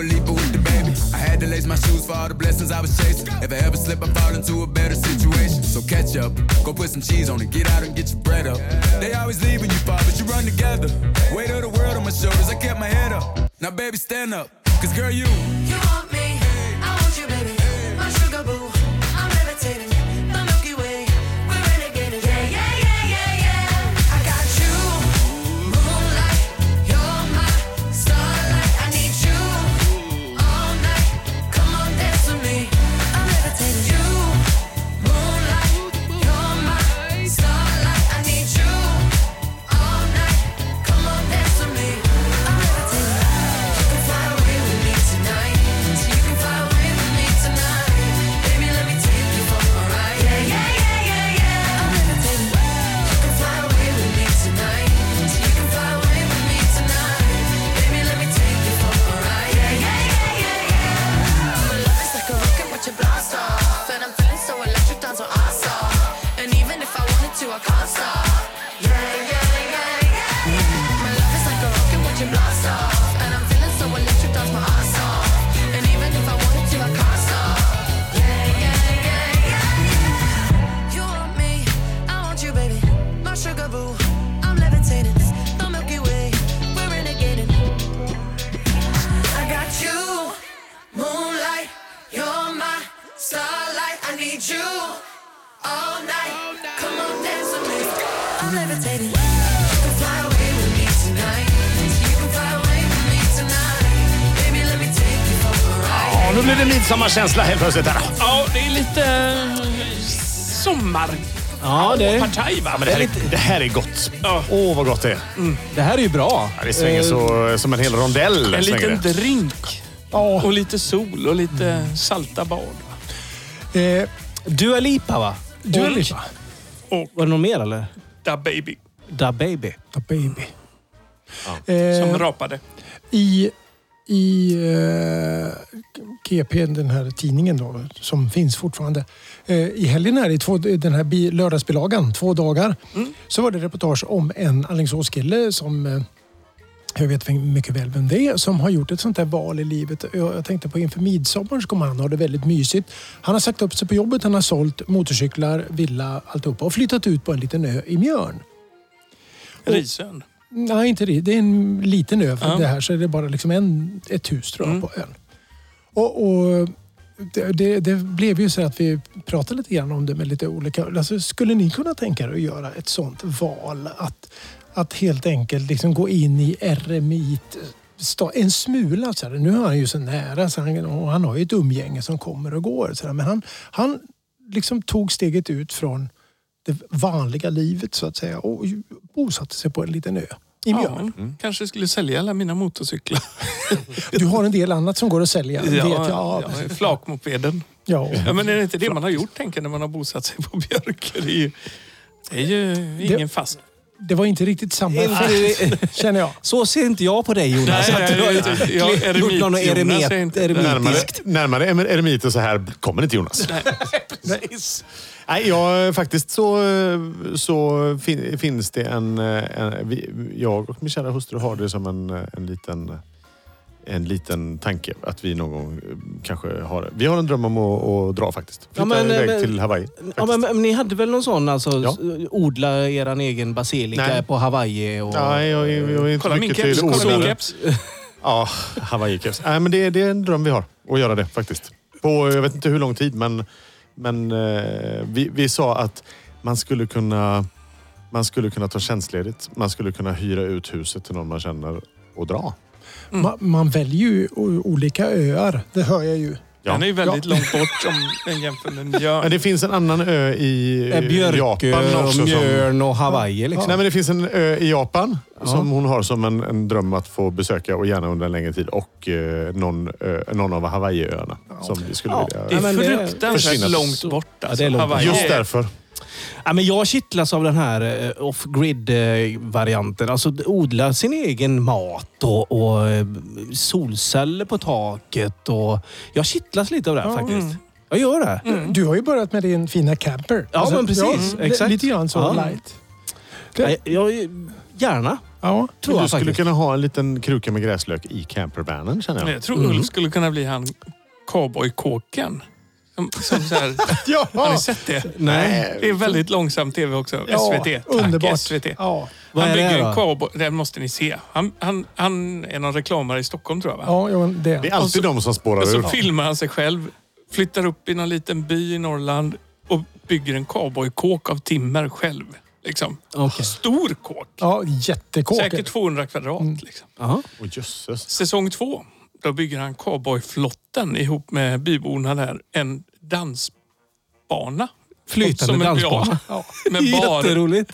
a leap with the baby. I had to lace my shoes for all the blessings I was chasing. If I ever slip, I fall into a better situation. So catch up, go put some cheese on it, get out and get your bread up. They always leaving you far, but you run together. Weight of the world on my shoulders, I kept my head up. Now, baby, stand up, cause girl, you.
You want me, I want you, baby. My sugar boo, I'm levitating. The Milky Way, we're renegading. Yeah, yeah, yeah, yeah, yeah. I got you, moonlight. You're my starlight. I need you all night. Come on, dance with me. I'm levitating. You, moonlight. You're my starlight. I need you all night. Come on, dance with me. I'm levitating. You can fly away with me tonight. You can fly away with me tonight. Baby, let me take you for a ride. Yeah, yeah, yeah, yeah, yeah. I'm levitating. You can fly away with me tonight. You can fly away with me tonight. Baby, let me take you for a ride. Yeah, yeah, yeah, yeah, yeah. Your love is like a rocket with your blast off, and I'm feeling so electric, down so awesome. And even if I wanted to, I can't stop. Yeah, yeah, yeah, yeah, yeah. My love is like a rocket with your blast off, and I'm feeling so electric, down my ass off. And even if I wanted to, I can't stop. Yeah, yeah, yeah, yeah. You want me, I want you, baby. My sugar boo, I'm levitating. The Milky Way, we're renegading. I got you, moonlight. You're my starlight. I need you all night. Come on, dance with me. I'm levitating. You can fly away with me tonight. You can fly away with me tonight. Baby, let me take you for a ride.
Ja, nu blir det midsommarkänsla helt plötsligt. Här.
Ja, det är lite sommar.
Ja, det,
Partaj, va?
Ja, men det, här är, det här är gott. Åh, vad gott det är.
det här är ju bra.
Ja, det svänger så, som en hel rondell.
En
svänger
liten
det.
drink.
Ja, Mm.
Och lite sol och lite salta bad.
eh,
Dua Lipa, va?
Dua Lipa.
Var det någon mer, eller?
Da baby.
Da Baby.
The baby.
Som
Eh,
rapade.
I i eh, GP, den här tidningen då, som finns fortfarande. Eh, I helgen här, i två, den här bi, lördagsbilagan, två dagar, så var det reportage om en Alingsåskille som eh, jag vet mycket väl vem det är, som har gjort ett sånt här val i livet. Jag jag tänkte på inför midsommar så kommer han ha det väldigt mysigt. Han har sagt upp sig på jobbet, han har sålt motorcyklar, villa, alltihopa och flyttat ut på en liten ö i Mjörn.
Risön.
Nej, inte det. Det är en liten ö. För
Ja.
Det här så är det bara liksom en, ett hus tror jag,
Mm.
på ön. Och, och det, det, det blev ju så att vi pratade lite grann om det med lite olika... Alltså, skulle ni kunna tänka er att göra ett sånt val? Att, att helt enkelt liksom gå in i eremit... sta- En smula. Så här. Nu är han ju så nära så han, och han har ju ett umgänge som kommer och går. Så här. Men han, han liksom tog steget ut från det vanliga livet så att säga och bosatte sig på en liten ö. I
Ja,
mjölk.
men Kanske skulle sälja alla mina motorcyklar.
Du har en del annat som går att sälja. Ja, vet jag. Ja,
ja, flakmopeden.
ja.
Ja, men är det inte det man har gjort, tänker jag, när man har bosatt sig på Björke? Det är ju, det är ju ingen
Det-
fast...
Det var inte riktigt samma effekt, känner jag.
Så ser inte jag på dig Jonas.
Nej,
att du har
jag- jag- jag-
gjort
eremit,
någon
Jonas,
eremet-
jag är inte-
eremitisk.
Närmare, närmare em- eremiten så här kommer inte Jonas. Nej, jag, faktiskt så, så fin, finns det en, en... vi- Jag och min kära hustru har det som en, en liten... En liten tanke att vi någon gång eh, kanske har... Vi har en dröm om att, att dra faktiskt. Flytta
Ja, men-
iväg
men-
till Hawaii.
Ja,
faktiskt.
men, men ni hade väl någon sån, alltså
Ja.
s- odla er egen basilika
Nej.
på Hawaii? Och...
Nej, jag, jag, jag är inte
Kolla min
mycket till
keps, kolla min
orden.
keps.
Ja, Hawaii-keps. Nej, men det, det är en dröm vi har. Att göra det faktiskt. På, jag vet inte hur lång tid, men, men eh, vi, vi sa att man skulle kunna man skulle kunna ta tjänstledigt. Man skulle kunna hyra ut huset till någon man känner och dra.
Mm.
Man, man väljer ju o- olika öar, det hör jag ju.
Ja.
Den är ju väldigt långt bort om den jämför med
Men
Björn.
det finns en annan ö i eh,
Eh, Björkö,
Japan
och
också. Som,
Mjörn och Hawaii liksom.
nej, men det finns en ö i Japan som hon har som en, en dröm att få besöka och gärna under en längre tid. Och eh, någon, ö, någon av Hawaii-öarna som vi skulle
Ja,
vilja...
Det
Ja,
är
men det-
fruktansvärt
Försvinner.
långt bort.
det
Alltså.
är långt bort.
Hawaii.
Just därför.
Ja, men jag kittlas av den här eh, off-grid-varianten. Alltså d- odla sin egen mat och, och eh, solceller på taket. Och... Jag kittlas lite av det här faktiskt. Jag gör det.
Du har ju börjat med din fina camper.
Mm.
Alltså,
Ja, men precis.
li-
Exakt.
Lite grann så
Ja.
light.
Jag, jag, gärna,
Ja.
tror
du skulle
jag faktiskt.
kunna ha en liten kruka med gräslök i campervanen känner
Men
jag.
Jag tror Ulf skulle kunna bli han cowboykåken. Som, som så här,
Ja.
har ni sett det?
Nej.
Det är väldigt långsam tv också. SVT. Tack,
underbart.
SVT.
Ja.
Vad
han
är det
bygger
här
en
då?
cowboy. Den måste ni se. Han, han, han är någon reklamare i Stockholm tror jag. Va?
Ja, ja, men
Det är
det.
alltid
Och så-
de som
Och
spårar
så
ur.
Alltså, filmar han sig själv, flyttar upp i någon liten by i Norrland och bygger en cowboykåk av timmer själv. Liksom.
Okej.
Stor kåk.
Ja, jättekåk.
Säkert 200 kvadrat.
Mm.
Liksom.
Jaha.
Åh, jösses.
Säsong två, då bygger han cowboyflotten ihop med byborna där. En dansbana.
Flytande
Som en
dansbana.
piano. Med bar.
Jätteroligt.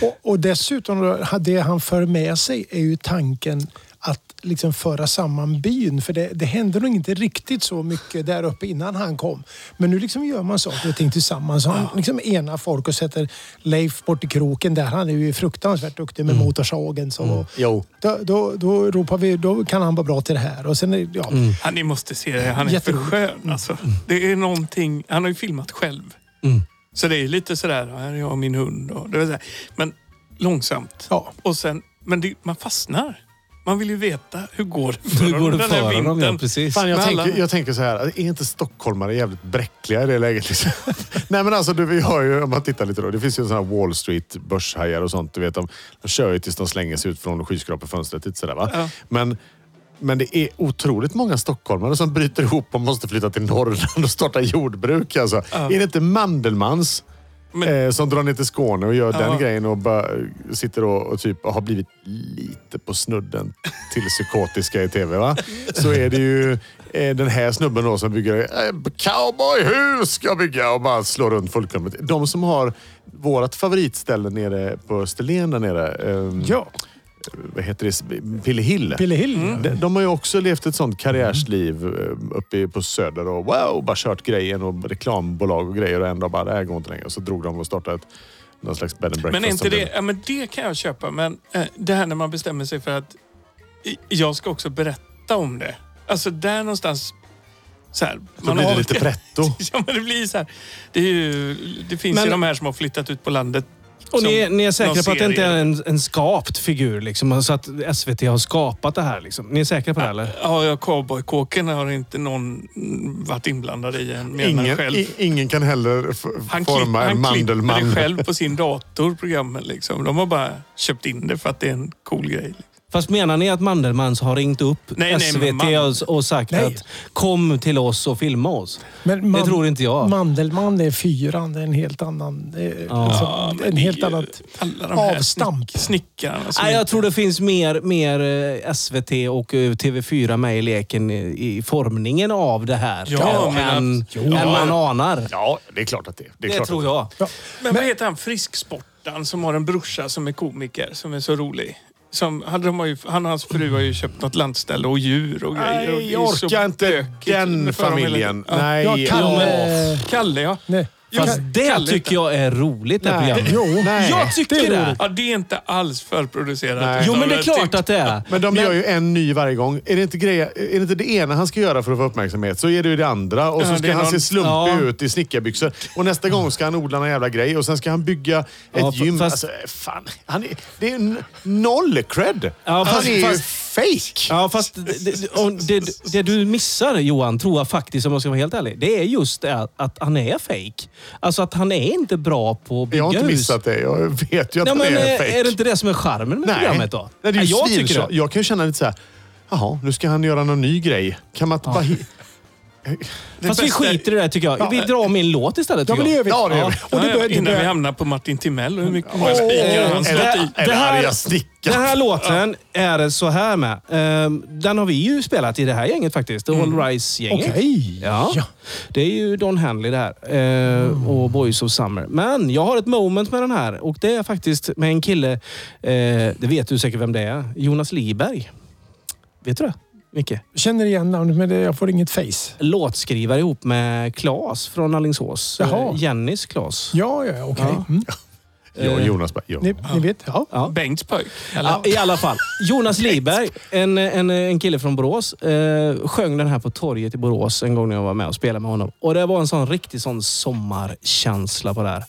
Och, och dessutom, då, ha- det han för med sig är ju tanken att liksom föra samman byn. För det, det hände nog inte riktigt så mycket där uppe innan han kom. Men nu liksom gör man saker och ting tillsammans. Han liksom enar folk och sätter Leif bort i kroken där. Han är ju fruktansvärt duktig med motorsågen. Så
Jo.
då, då, då ropar vi, då kan han vara bra till det här. Och sen, är- ja,
Han, ni måste se det. Han är
Jätteroligt.
för
Mm.
skön. Alltså. Det är någonting, han har ju filmat själv.
Mm.
Så det är lite sådär, här är jag och min hund. Och, det vill säga, men långsamt.
ja.
Och sen, men det, man fastnar. Man vill ju veta hur går det för
Hur går det
den här
för honom? Ja,
vintern.
precis.
Fan, jag,
Men alla-
tänker, jag tänker så här, är inte stockholmare jävligt bräckliga i det läget? Liksom? Nej men alltså, du, vi har ju, om man tittar lite då. Det finns ju sådana här Wall Street börshajar och sånt. Du vet, de, de kör ju tills de slänger sig ut från skyskrapefönstret. Lite sådär, va?
Ja.
Men, men det är otroligt många stockholmare som bryter ihop och måste flytta till Norrland och starta jordbruk. Alltså. Är det inte Mandelmans
Men-
eh, som drar ner till Skåne och gör
Ja.
den grejen och bara, eh, sitter och, och typ har blivit lite på snudden till psykotiska i tv. Va? Så är det ju eh, den här snubben då som bygger eh, cowboyhus ska jag bygga och bara slår runt fullkomligt. De som har vårt favoritställe nere på Österlen där nere. ehm,
ja.
vad heter det, Pille Hill. Mm.
Pille Hill.
De, de har ju också levt ett sånt karriärsliv eh, uppe på Söder och wow, bara kört grejen och reklambolag och grejer och en dag bara, det här går inte längre. Och så drog de och startade ett, någon slags bed and breakfast.
Men är inte
som
det,
blev-
ja, men det kan jag köpa. Men eh, det här när man bestämmer sig för att i- jag ska också berätta om det. Alltså där någonstans. Så här,
Så blir det
har-
lite pretto.
ja, men det blir så här. Det, är ju, det finns
Men-
ju de här som har flyttat ut på landet.
Och ni,
som
ni är säkra
någon
på att det inte
serie.
är en, en skapt figur? Liksom, så att SVT har skapat det här? Liksom. Ni är säkra på det eller?
Ja, ja, cowboykåken har inte någon mm, varit inblandad i än mer än han
Ingen,
själv.
i, ingen kan heller f-
Han, klipp,
forma en
han klipper
mandelman.
det själv på sin dator, programmen. Liksom. De har bara köpt in det för att det är en cool grej. Liksom.
Fast menar ni att Mandelmans har ringt upp
Nej, nej, men
SVT
man-
och, och sagt
Nej.
att kom till oss och filma oss?
Men
det tror inte jag.
Mandelmann är fyran. Det är en helt annan... det är liksom, en helt annat
Alla de här
avstamp.
snick- Snickarna. som
Nej,
inte-
jag tror det finns mer, mer eh, SVT och eh, TV4 med i leken i, i formningen av det här.
Ja,
än,
men
än,
abs- jo.
man anar.
Ja, det är klart att det är. Det, är
det
klart
tror
att det är.
jag.
Men, vad heter han Frisksportaren som har en brorsa som är komiker som är så rolig? Som, hade de har ju, han och hans fru har ju köpt något lantställe och djur och grejer. och det
Nej,
är
jag
så
orkar inte
bökigt
den
för dem hela
familjen.
tiden. Ja.
Nej.
Ja, Kalle...
Kalle ja.
Nej.
Jo,
Fast det
Kalle
tycker
heter-
jag är roligt, det här programmet.
Jo.
Nej.
Jag tycker
det
det!
är
Ja, det är inte alls förproducerat.
Nej.
Jo,
utan typ-
men det är
jag
klart
tyckte-
att det är.
Men de gör ju en ny varje gång. Är det, inte grejer, är det inte det ena han ska göra för att få uppmärksamhet så är det ju det andra. Och
Ja,
så ska
det är
han
någon-
se slumpig
Ja.
ut i snickarbyxor. Och nästa gång ska han odla någon jävla grej. Och sen ska han bygga ett
Ja, fa-
gym.
fast-
Alltså, fan. Han är, det är ju n- noll cred.
Ja, fast-
han är ju
fast-
fake.
Ja, fast det, det, och det, det du missar Johan, tror jag faktiskt om jag ska vara helt ärlig. Det är just det att han är fake. Alltså att han är inte bra på att bygga
Jag har inte
hus.
missat det. Jag vet ju att
Nej,
han
men eh,
är
är,
fake.
är det inte det som är charmen med programmet då?
Nej, det är ju
Ja, jag
jag,
tycker det.
jag kan ju känna lite så här. Jaha, nu ska han göra någon ny grej. Kan man inte bara... hi-
Det
Fast vi
bästa-
skiter i det här tycker jag. Vi drar min låt istället.
Ja,
tycker
men det
jag.
gör vi.
Ja, det gör vi.
Och det
Ja, ja,
börjar, det
innan vi
börjar,
hamnar på Martin Timell och hur mycket man spikar han slår i.
Eller,
det
eller
här-
arga snickaren.
Den här låten är så här med. Ehm, Den har vi ju spelat i det här gänget faktiskt. The All Rise-gänget.
Okej.
Ja.
Ja.
Det är ju Don Henley det här. Ehm, Och Boys of Summer. Men jag har ett moment med den här. Och det är faktiskt med en kille. eh, Det vet du säkert vem det är. Jonas Liberg. Vet du det? Micke?
känner igen namnet, men det, jag får inget face.
Låtskrivare ihop med Klas från Alingsås.
Jaha.
Eh, Jennys Klas.
Ja, ja, ja, okej.
Ja.
Mm.
Eh.
Jag och Jonas bara... Jo.
Ni, ni vet? Ja.
Ja.
Bengts pojk. eller?
Ja, I alla fall. Jonas Liberg, en, en, en kille från Borås, eh, sjöng den här på torget i Borås en gång när jag var med och spelade med honom. Och Det var en sån riktig sån sommarkänsla på det här.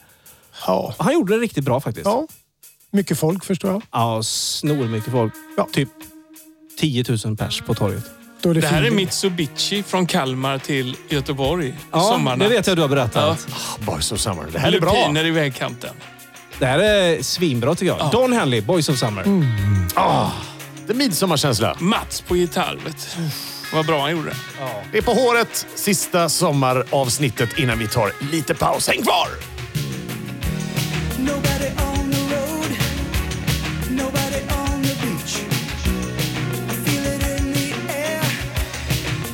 ja.
Han gjorde det riktigt bra faktiskt.
ja. Mycket folk förstår jag.
Ja, snor mycket folk.
Ja.
Typ 10 000 pers på torget.
Då är det,
Det här är
feeling.
Mitsubishi från Kalmar till Göteborg.
Ja,
sommarna.
det vet jag du har berättat.
Boys of Summer. Det här är bra.
Lupiner i vägkanten.
Det här är svinbra tycker jag. Don Henley, Boys of Summer.
Det är midsommarkänsla.
Mats på gitarr. vet du. Vad bra han gjorde.
Det är på håret. Sista sommaravsnittet innan vi tar lite paus. Häng kvar!
Nobody on the road, nobody on the beach. I feel it in the air.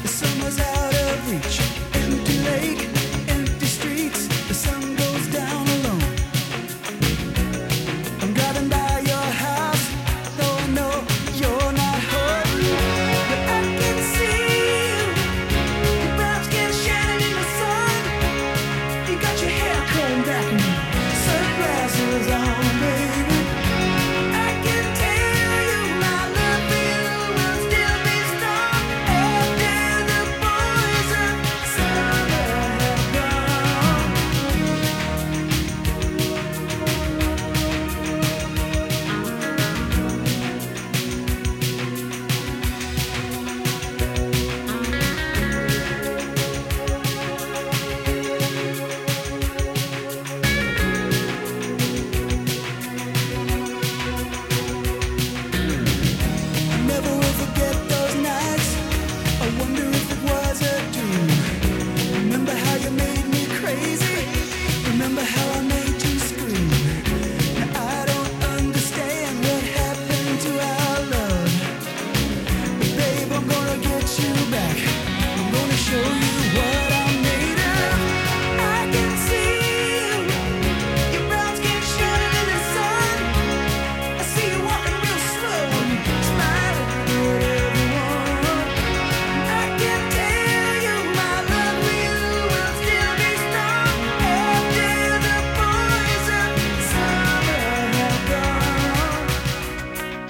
The summer's out of reach. Empty lake, empty streets. The sun goes down alone. I'm driving by your house, though I know you're not home. But I can see you. Your brown's skin shining in the sun. You got your hair combed back and sunglasses on, baby. I can tell you my love will still be strong after the boys of summer have gone. Never will forget those nights. I wonder if it was a dream. Remember how you made me crazy? Remember how I made you scream? Now I don't understand what happened to our love. But babe, I'm gonna get you back. I'm gonna show you what I'm made of. I can see you. Your brown skin shining in the sun. I see you walking real slow and smiling at everyone. I can tell you my love for you will still be strong after the boys of summer have gone.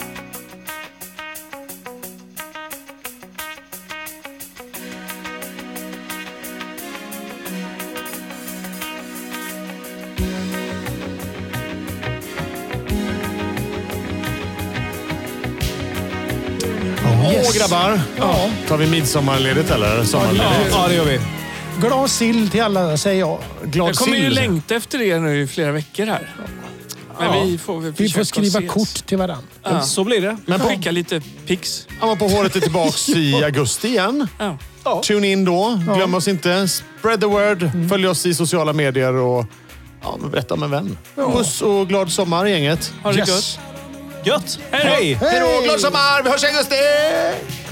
Åh, grabbar. Ja. Tar vi midsommarledigt eller? Sommarledigt.
Ja, det gör vi.
Glad sill till alla, säger jag.
Glad
Jag kommer ju
sill.
längta efter er nu i flera veckor här. Men vi får väl
Vi
försöka
får skriva
ses.
kort till varandra.
Ja.
Så blir det.
Men skicka lite pix.
Han var på håret är tillbaks i augusti igen.
Ja.
Tune in då. Glöm oss inte. Spread the word. Följ oss i sociala medier och ja, men berätta om en vän. Puss och glad sommar gänget.
Ha det
Yes.
gött.
Gött!
Hej då!
Hej!
Hej då! Glad sommar! Vi hörs i augusti!